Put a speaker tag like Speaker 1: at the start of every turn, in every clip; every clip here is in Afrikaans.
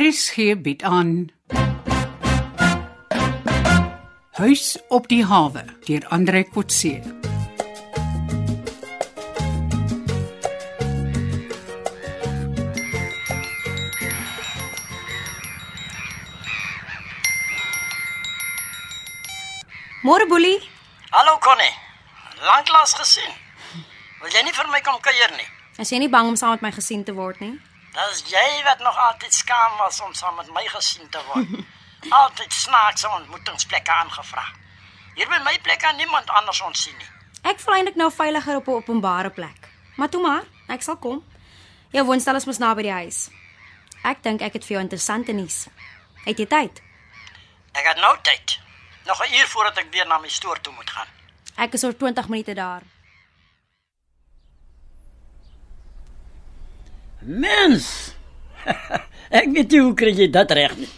Speaker 1: RSG bied aan Huis op die hawe deur Andre Kotse.
Speaker 2: Môre Boelie,
Speaker 3: Hallo Connie. Lanklaas gesien. Wil jy nie vir my kom kuier nie?
Speaker 2: as jy nie bang om saam met my gesien te word nie.
Speaker 3: Dis jy wat nog altyd skaam was om saam met my gesien te word. altyd snaakse ontmoetingsplekke aangevra. Hier by my plek kan niemand anders ons sien nie.
Speaker 2: Ek voel eintlik nou veiliger op 'n openbare plek. Maar toe maar, ek sal kom. Jou woonstel is mos naby die huis. Ek dink ek het vir jou interessante nuus. Het jy tyd?
Speaker 3: Ek het nou tyd. Nog 'n uur voordat ek weer na my stoor toe moet gaan.
Speaker 2: Ek is oor 20 minute daar.
Speaker 3: Mens. ek weet nie hoe kry jy dit reg nie.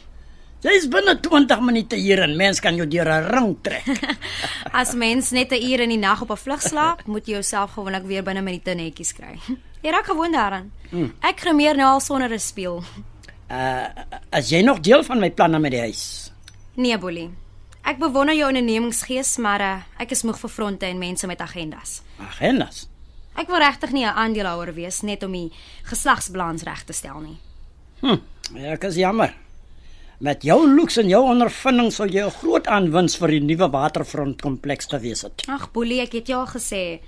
Speaker 3: Jy's binne 20 minute hier en mens kan jou deur 'n ring trek.
Speaker 2: As mens net 'n uur in die nag op 'n vlug slaap, moet jy jouself gewoonlik weer binne minute netjies kry. Jy raak gewoond daaraan. Ek grimeer nou al sonder 'n speel.
Speaker 3: Uh as jy nog deel van my planne met die huis.
Speaker 2: Nee, Boelie. Ek bewonder jou ondernemingsgees, maar uh, ek is moeg vir fronte en mense met agendas.
Speaker 3: Agendas.
Speaker 2: Ek wil regtig nie 'n aandeelhouer wees net om die geslagsbalans reg te stel nie.
Speaker 3: Hm, ja, ek is jammer. Met jou looks en jou ondervinding sou jy 'n groot aanwins vir die nuwe waterfront kompleks gewees het.
Speaker 2: Ag, Boelie, ek het jou al gesê.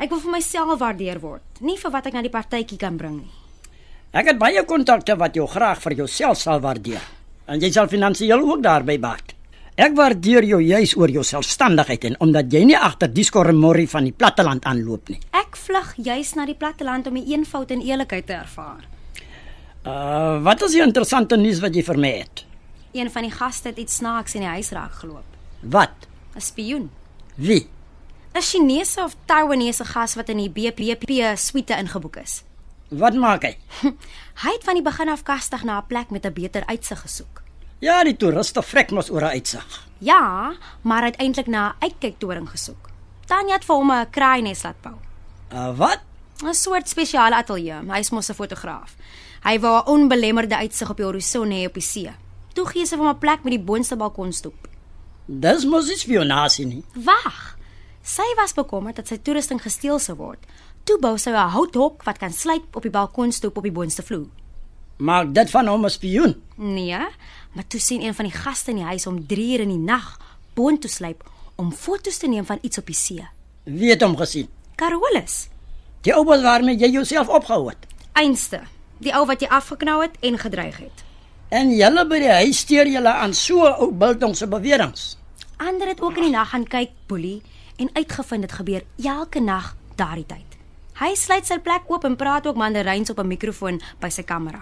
Speaker 2: Ek wil vir myself waardeer word, nie vir wat ek na die partytjie kan bring nie.
Speaker 3: Ek het baie kontakte wat jou graag vir jouself sal waardeer. En jy sal finansiëel ook daarby baat. Ek waardeer jou juis oor jou selfstandigheid en omdat jy nie agter die skorremorie van die platteland aanloop nie.
Speaker 2: Ek vlug juis na die platteland om die eenvoud en eerlikheid te ervaar.
Speaker 3: Uh, wat is die interessante nuus wat jy vir my het?
Speaker 2: Een van die gaste het iets snaaks in die huis raak geloop.
Speaker 3: Wat?
Speaker 2: 'n Spioen.
Speaker 3: Wie?
Speaker 2: 'n Chinese of Taiwanese gas wat in die BPP suite ingeboek is.
Speaker 3: Wat maak hy?
Speaker 2: Hy het van die begin af kastig na 'n plek met 'n beter uitsig gesoek.
Speaker 3: Ja, die toeriste vrek mos oor 'n uitsig.
Speaker 2: Ja, maar hy het eintlik na 'n uitkyktoring gesoek. Tanya het vir hom 'n kraaines laat bou.
Speaker 3: Uh, wat?
Speaker 2: 'n Soort spesiale ateljee. Hy is mos 'n fotograaf. Hy wou 'n onbelemmerde uitsig op die horison hê op die see. Toe gee sy vir hom 'n plek met die boonste balkonstoep.
Speaker 3: Dis mos nie spionasie nie.
Speaker 2: Wag. Sy was bekommerd dat sy toerusting gesteel sou word. Toe bou sy 'n houthok wat kan sluit op die balkonstoep op die boonste vloer.
Speaker 3: Maak dit van hom 'n spioen.
Speaker 2: Nee, maar toe sien een van die gaste in die huis om 3 uur in die nag boontoe sluip om foto's te neem van iets op die see.
Speaker 3: Wie het hom gesien?
Speaker 2: Carolus.
Speaker 3: Die ou wat waarmee jy jouself opgehou het.
Speaker 2: Einste, die ou wat jy afgeknou het en gedreig het.
Speaker 3: En julle by die huis steur julle aan so 'n ou biltong se beweringe.
Speaker 2: Ander het ook in die nag gaan kyk, Boelie, en uitgevind dit gebeur elke nag daardie tyd. Hy sluit sy plek oop en praat ook mandaryns op 'n mikrofoon by sy kamera.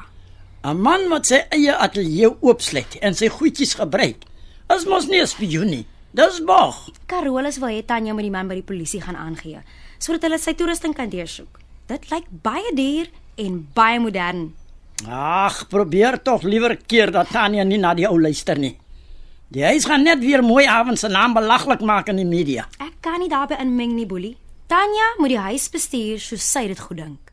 Speaker 3: 'n Man wat sy eie ateljee oopsluit en sy goedjies gebruik, is mos nie 'n spioen nie. Dis bog.
Speaker 2: Carolus wil hê Tanya moet die man by die polisie gaan aangee sodat hulle sy toerusting kan deursoek. Dit lyk baie duur en baie modern.
Speaker 3: Ag, probeer tog liewer keer dat Tanya nie na die ou luister nie. Die huis gaan net weer mooi avond se naam belaglik maak in die media.
Speaker 2: Ek kan nie daarbey inmeng nie, Boelie. Tanya moet die huis bestuur soos sy dit goed dink.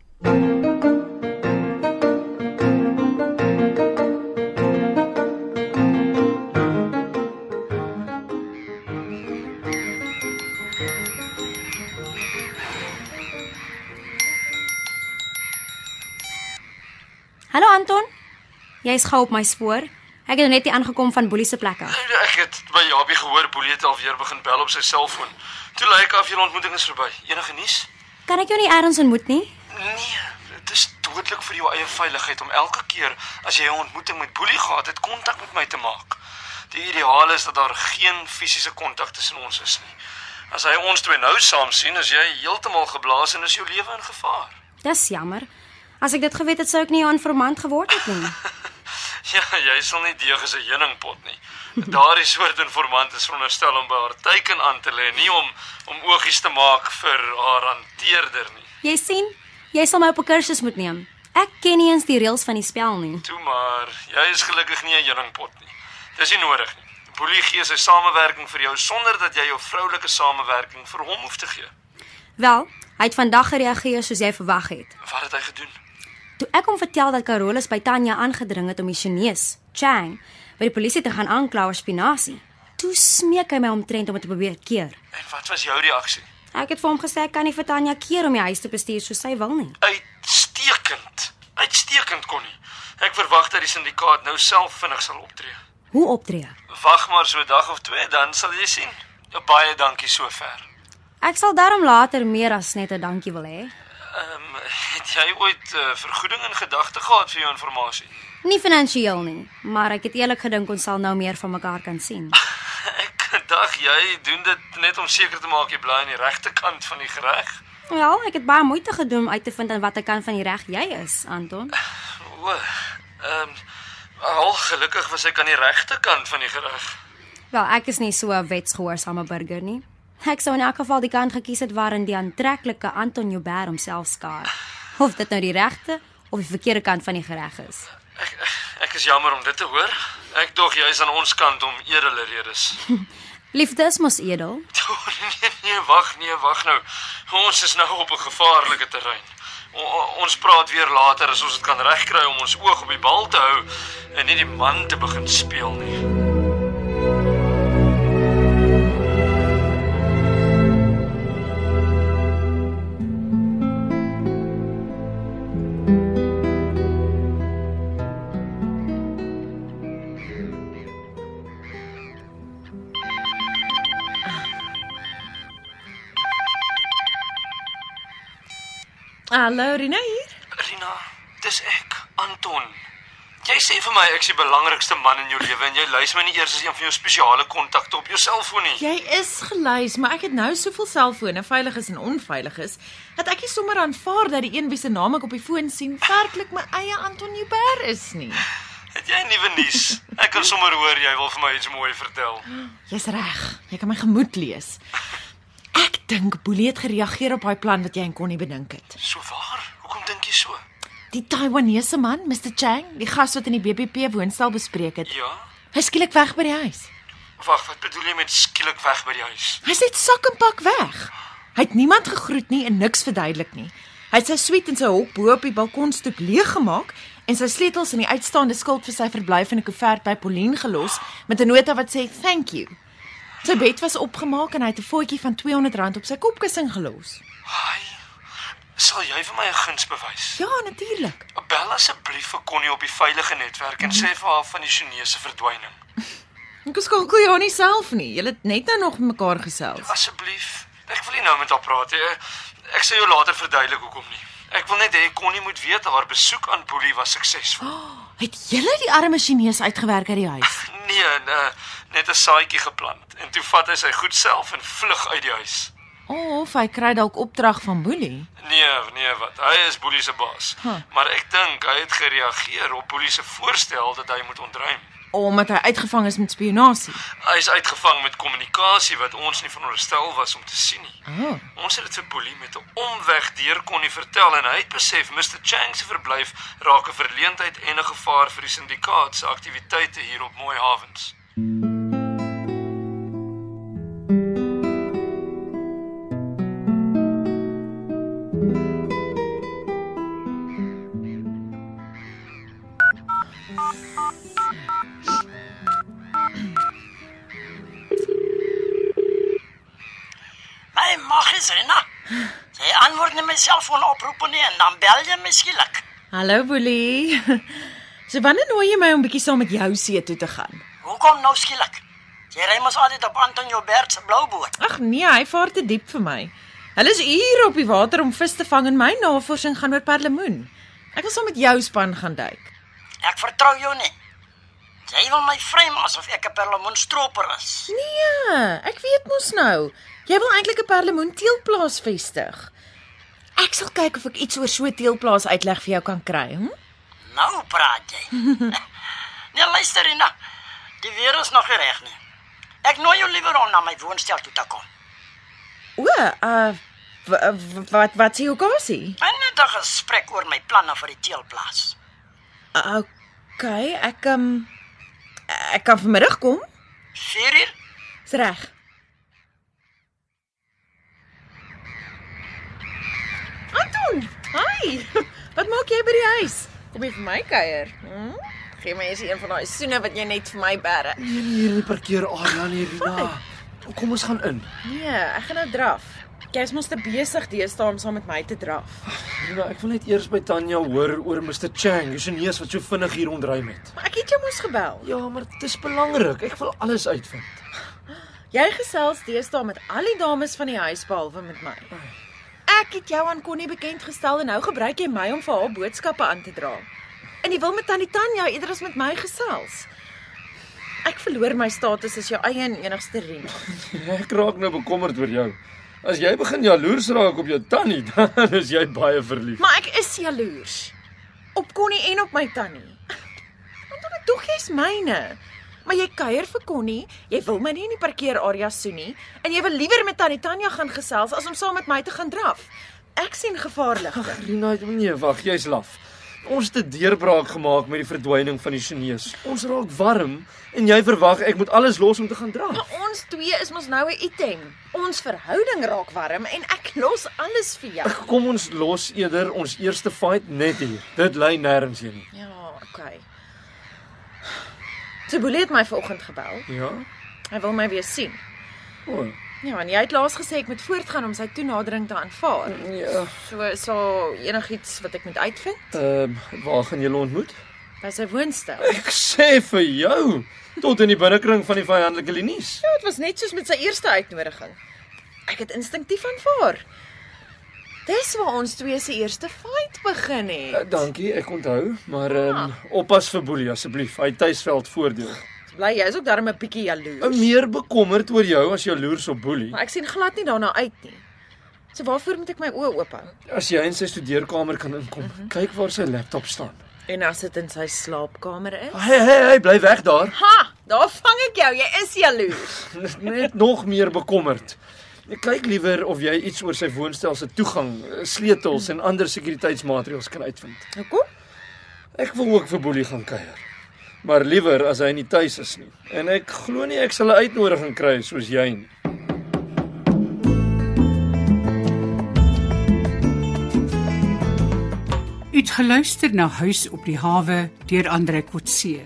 Speaker 2: Hallo Anton. Jy's gou op my spoor. Ek het nou net nie aangekom van Boelie se plek af.
Speaker 4: Nee, Ek het by Jabie gehoor Boelie het alweer begin bel op sy selfoon. Toe lei ek af julle ontmoeting is verby. Enige nuus?
Speaker 2: Kan ek jou nie eers ontmoet nie?
Speaker 4: Nee, dit is dodelik vir jou eie veiligheid om elke keer as jy 'n ontmoeting met Boelie gehad het, kontak met my te maak. Die ideaal is dat daar geen fisiese kontak tussen ons is nie. As hy ons twee nou saam sien, is jy heeltemal geblaas en is jou lewe in gevaar.
Speaker 2: Dis jammer. As ek dit geweet het, sou ek nie jou informant geword het nie.
Speaker 4: Ja, jy sal nie deeg as 'n heuningpot nie. Daardie soort informant is veronderstel om by haar teiken aan te lê, nie om om oogies te maak vir haar hanteerder nie.
Speaker 2: Jy sien, jy sal my op 'n kursus moet neem. Ek ken nie eens die reëls van die spel nie.
Speaker 4: Toe maar, jy is gelukkig nie 'n heuningpot nie. Dis nie nodig nie. Boelie gee sy samewerking vir jou sonder dat jy jou vroulike samewerking vir hom hoef te gee.
Speaker 2: Wel, hy het vandag gereageer soos jy verwag het.
Speaker 4: Wat het hy gedoen?
Speaker 2: Toe ek hom vertel dat Carolus by Tanya aangedring het om die Chinese Chang by die polisie te gaan aankla oor spinasie, toe smeek hy my omtrent om dit te probeer keer.
Speaker 4: En wat was jou reaksie?
Speaker 2: Ek het vir hom gesê ek kan nie vir Tanya keer om die huis te bestuur soos sy wil nie.
Speaker 4: Uitstekend. Uitstekend Connie. Ek verwag dat die syndikaat nou self vinnig sal optree.
Speaker 2: Hoe optree?
Speaker 4: Wag maar so 'n dag of twee dan sal jy sien. Ja, Baie dankie sover.
Speaker 2: Ek sal daarom later meer as net 'n dankie wil hê.
Speaker 4: Ehm het jy ooit uh, vergoeding in gedagte gehad vir jou inligting?
Speaker 2: Nie finansiëel nie, maar ek het eerlik gedink ons sal nou meer van mekaar kan sien.
Speaker 4: Ek dag jy doen dit net om seker te maak jy bly aan die regte kant van die gereg.
Speaker 2: Wel, ek het baie moeite gedoen om uit te vind aan watter kant van die reg jy is, Anton.
Speaker 4: O. Ehm al gelukkig was ek aan die regte kant van die gereg.
Speaker 2: Wel, ek is nie so 'n wetsgehoorsame burger nie. Ek sou in elk geval die kant gekies het waarin die aantreklike Anton Joubert homself skaar. Of dit nou die regte of die verkeerde kant van die gereg is.
Speaker 4: Ek ek is jammer om dit te hoor. Ek dog jy is aan ons kant om edele redes.
Speaker 2: Liefde is mos edel.
Speaker 4: O, nee nee, wag nee, wag nou. Ons is nou op 'n gevaarlike terrein. O, o- ons praat weer later as ons dit kan regkry om ons oog op die bal te hou en nie die man te begin speel nie.
Speaker 5: Hallo Rina hier.
Speaker 4: Rina, dis ek, Anton. Jy sê vir my ek's die belangrikste man in jou lewe en jy lys my nie eers as een van jou spesiale kontakte op jou selfoon nie.
Speaker 5: Jy is gelys, maar ek het nou soveel selfone, veiliges en onveiliges, dat ek nie sommer aanvaar dat die een wie se naam ek op die foon sien werklik my eie Anton Joubert is nie.
Speaker 4: Het jy nuwe nuus? Ek kan sommer hoor jy wil vir my iets mooi vertel.
Speaker 5: Jy's reg. Jy kan my gemoed lees. Ek dink Boelie het gereageer op daai plan wat jy en Connie bedink het.
Speaker 4: So waar? Hoekom dink jy so?
Speaker 5: Die Taiwanese man, Mr Chang, die gas wat in die BBP woonstel bespreek het,
Speaker 4: Ja.
Speaker 5: hy skielik weg by die huis.
Speaker 4: Wag, wat bedoel jy met skielik weg by die huis?
Speaker 5: Hy's net sak en pak weg. Hy het niemand gegroet nie en niks verduidelik nie. Hy het sy suite en sy hok bo op die balkonstoep leeggemaak en sy sleutels in die uitstaande skuld vir sy verblyf in 'n koevert by Pauline gelos met 'n nota wat sê thank you. Sy bed was opgemaak en hy het 'n voetjie van R200 op sy kopkussing gelos.
Speaker 4: Haai. Sal jy vir my 'n guns bewys?
Speaker 5: Ja, natuurlik.
Speaker 4: Bel asseblief vir Connie op die veilige netwerk en sê vir haar van die Chinese verdwyning.
Speaker 5: Ek skakel jou nie self nie. Jy het net nou nog met mekaar gesels.
Speaker 4: Asseblief. Ek wil nie nou met haar praat nie. Ek sal jou later verduidelik hoekom nie. Ek wil net hê Connie moet weet haar besoek aan Boelie was suksesvol.
Speaker 5: Het jy die arme Chinese uitgewerk uit die huis?
Speaker 4: Nee, nee, net 'n saadjie geplant en toe vat hy sy goed self en vlug uit die huis.
Speaker 5: Of hy kry dalk opdrag van Boelie?
Speaker 4: Nee, nee, wat? Hy is Boelie se baas.
Speaker 5: Huh.
Speaker 4: Maar ek dink hy het gereageer op Boelie se voorstel dat hy moet ontruim.
Speaker 5: Omdat hy uitgevang is met spionasie.
Speaker 4: Hy is uitgevang met kommunikasie wat ons nie veronderstel was om te sien nie.
Speaker 5: Oh.
Speaker 4: Ons het dit vir Boelie met 'n omweg deur kon nie vertel en hy het besef Mr Chang se verblyf raak 'n verleentheid en 'n gevaar vir die syndikaat se aktiwiteite hier op Mooi Havens.
Speaker 6: My mag is Rena. Sy antwoord nie my selfoon oproepe nie en dan bel jy my skielik.
Speaker 5: Hallo Boelie. So wanneer nooi jy my om bietjie saam met jou see toe te gaan?
Speaker 6: Hoekom nou skielik? Jy ry mos altyd op Anton Joubert se blou boot.
Speaker 5: Ag nee, hy vaar te diep vir my. Hulle is ure op die water om vis te vang en my navorsing gaan oor perlemoen. Ek wil saam met jou span gaan duik.
Speaker 6: Ek vertrou jou nie. Jy wil my vreem asof ek 'n perlemoenstroper is.
Speaker 5: Nee, ek weet mos nou. Jy wil eintlik 'n perlemoen teelplaas vestig. Ek sal kyk of ek iets oor so 'n teelplaas uitleg vir jou kan kry, hm?
Speaker 6: Nou praat jy. nee, luister Rena. Die weer is nog nie reg nie. Ek nooi jou liewer om na my woonstel toe te kom.
Speaker 5: O, uh wa- wa- wat wat sê Okasie?
Speaker 6: En net 'n gesprek oor my planne vir die teelplaas.
Speaker 5: Okay, ek um ek kan vanmiddag kom.
Speaker 6: 4 uur?
Speaker 5: Dis reg. Anton, hi. Wat maak jy by die huis? Kom jy vir my kuier? Hm? Geen mens een van daai soene wat jy net vir my bære.
Speaker 4: Hier hier in die parkeerarea nie, Rina. Kom ons gaan in.
Speaker 5: Nee, ek gaan nou draf. Jy's mos te besig deesdae om saam met my te draf.
Speaker 4: Rina, ek wil net eers by Tanya hoor oor Mr Chang, die Chinese wat so vinnig hier rondry het.
Speaker 5: Maar ek het jou mos gebel.
Speaker 4: Ja, maar dit is belangrik. Ek wil alles uitvind.
Speaker 5: Jy gesels deesdae met al die dames van die huis behalwe met my. Ek het jou aan Connie bekend gestel en nou gebruik jy my om vir haar boodskappe aan te dra. En jy wil met tannie Tanya eerder as met my gesels. Ek verloor my status as jou eie en enigste vriend.
Speaker 4: Ek raak nou bekommerd oor jou. As jy begin jaloers raak op jou tannie, dan is jy baie verlief.
Speaker 5: Maar ek is jaloers op Connie en op my tannie. Want ek dog jy's myne. Maar jy kuier vir Connie, jy wil my nie in die parkeerarea soen nie en jy wil liewer met tannie Tanya gaan gesels as om saam met my te gaan draf. Ek sien gevaarligte.
Speaker 4: Rina, nee, wag, jy's laf. Ons het 'n deurbraak gemaak met die verdwyning van die Chinese. Ons raak warm en jy verwag ek moet alles los om te gaan draf.
Speaker 5: Maar ons twee is mos nou 'n item. Ons verhouding raak warm en ek los alles vir jou.
Speaker 4: Kom ons los eerder ons eerste fight net hier. Dit lei nêrens heen nie.
Speaker 5: Ja, okay. Tibule het my vanoggend gebel.
Speaker 4: Ja.
Speaker 5: Hy wil my weer sien.
Speaker 4: O.
Speaker 5: Ja, en jy het laas gesê ek moet voortgaan om sy toenadering te aanvaar.
Speaker 4: Ja.
Speaker 5: So so enigiets wat ek moet uitvind
Speaker 4: Ehm, waar gaan julle ontmoet?
Speaker 5: by sy woonstel.
Speaker 4: Ek sê vir jou, tot in die binnekring van die vyandelike linies.
Speaker 5: Ja, dit was net soos met sy eerste uitnodiging. Ek het instinktief aanvaar. Dis waar ons twee se eerste fight begin
Speaker 4: Eh,
Speaker 5: het.
Speaker 4: Dankie, ek onthou, maar ehm um, oppas vir Boelie asseblief. Hy het tuisveld voordeel.
Speaker 5: Eh, Bly jy's ook darm 'n bietjie
Speaker 4: Ek
Speaker 5: jaloers.
Speaker 4: is meer bekommerd oor jou as jaloers op Boelie.
Speaker 5: Maar ek sien glad nie daarna uit nie. So waarvoor moet ek my oë oop hou?
Speaker 4: As jy in sy studeerkamer kan inkom, kyk waar sy laptop staan.
Speaker 5: En as dit in sy slaapkamer is?
Speaker 4: Hey hey hey, bly weg daar.
Speaker 5: Ha, daar vang ek jou. Jy is jaloers.
Speaker 4: Dis net nog meer bekommerd. Ek kyk liewer of jy iets oor sy woonstel se toegang, eh, sleutels en ander sekuriteitsmaatreëls kan uitvind.
Speaker 5: Hoekom?
Speaker 4: Ek wil ook vir Boelie gaan kuier. Maar liewer as hy nie tuis is nie. En ek glo nie ek sal 'n uitnodiging kry soos jy nie.
Speaker 1: U het geluister na Huis op die hawe deur Andre Kotse.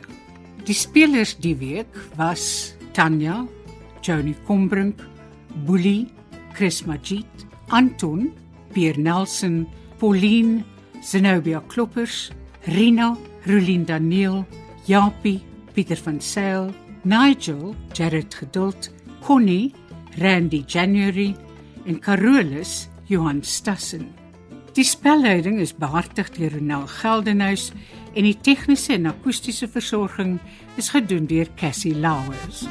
Speaker 1: Die spelers die week was Tanya, Johnny Combrink, Boelie, Chris Magid, Anton, Pierre Nelson, Pauline, Zenobia Kloppers, Rina, Rulien Daniel, Japie, Pieter van Sail, Nigel, Jared Geduld, Connie, Randy January en Carolus Johan Stassen. Die spelleiding is behartig deur Ronel Geldenhuys en die tegniese en akoestiese versorging is gedoen deur Cassie Lauers.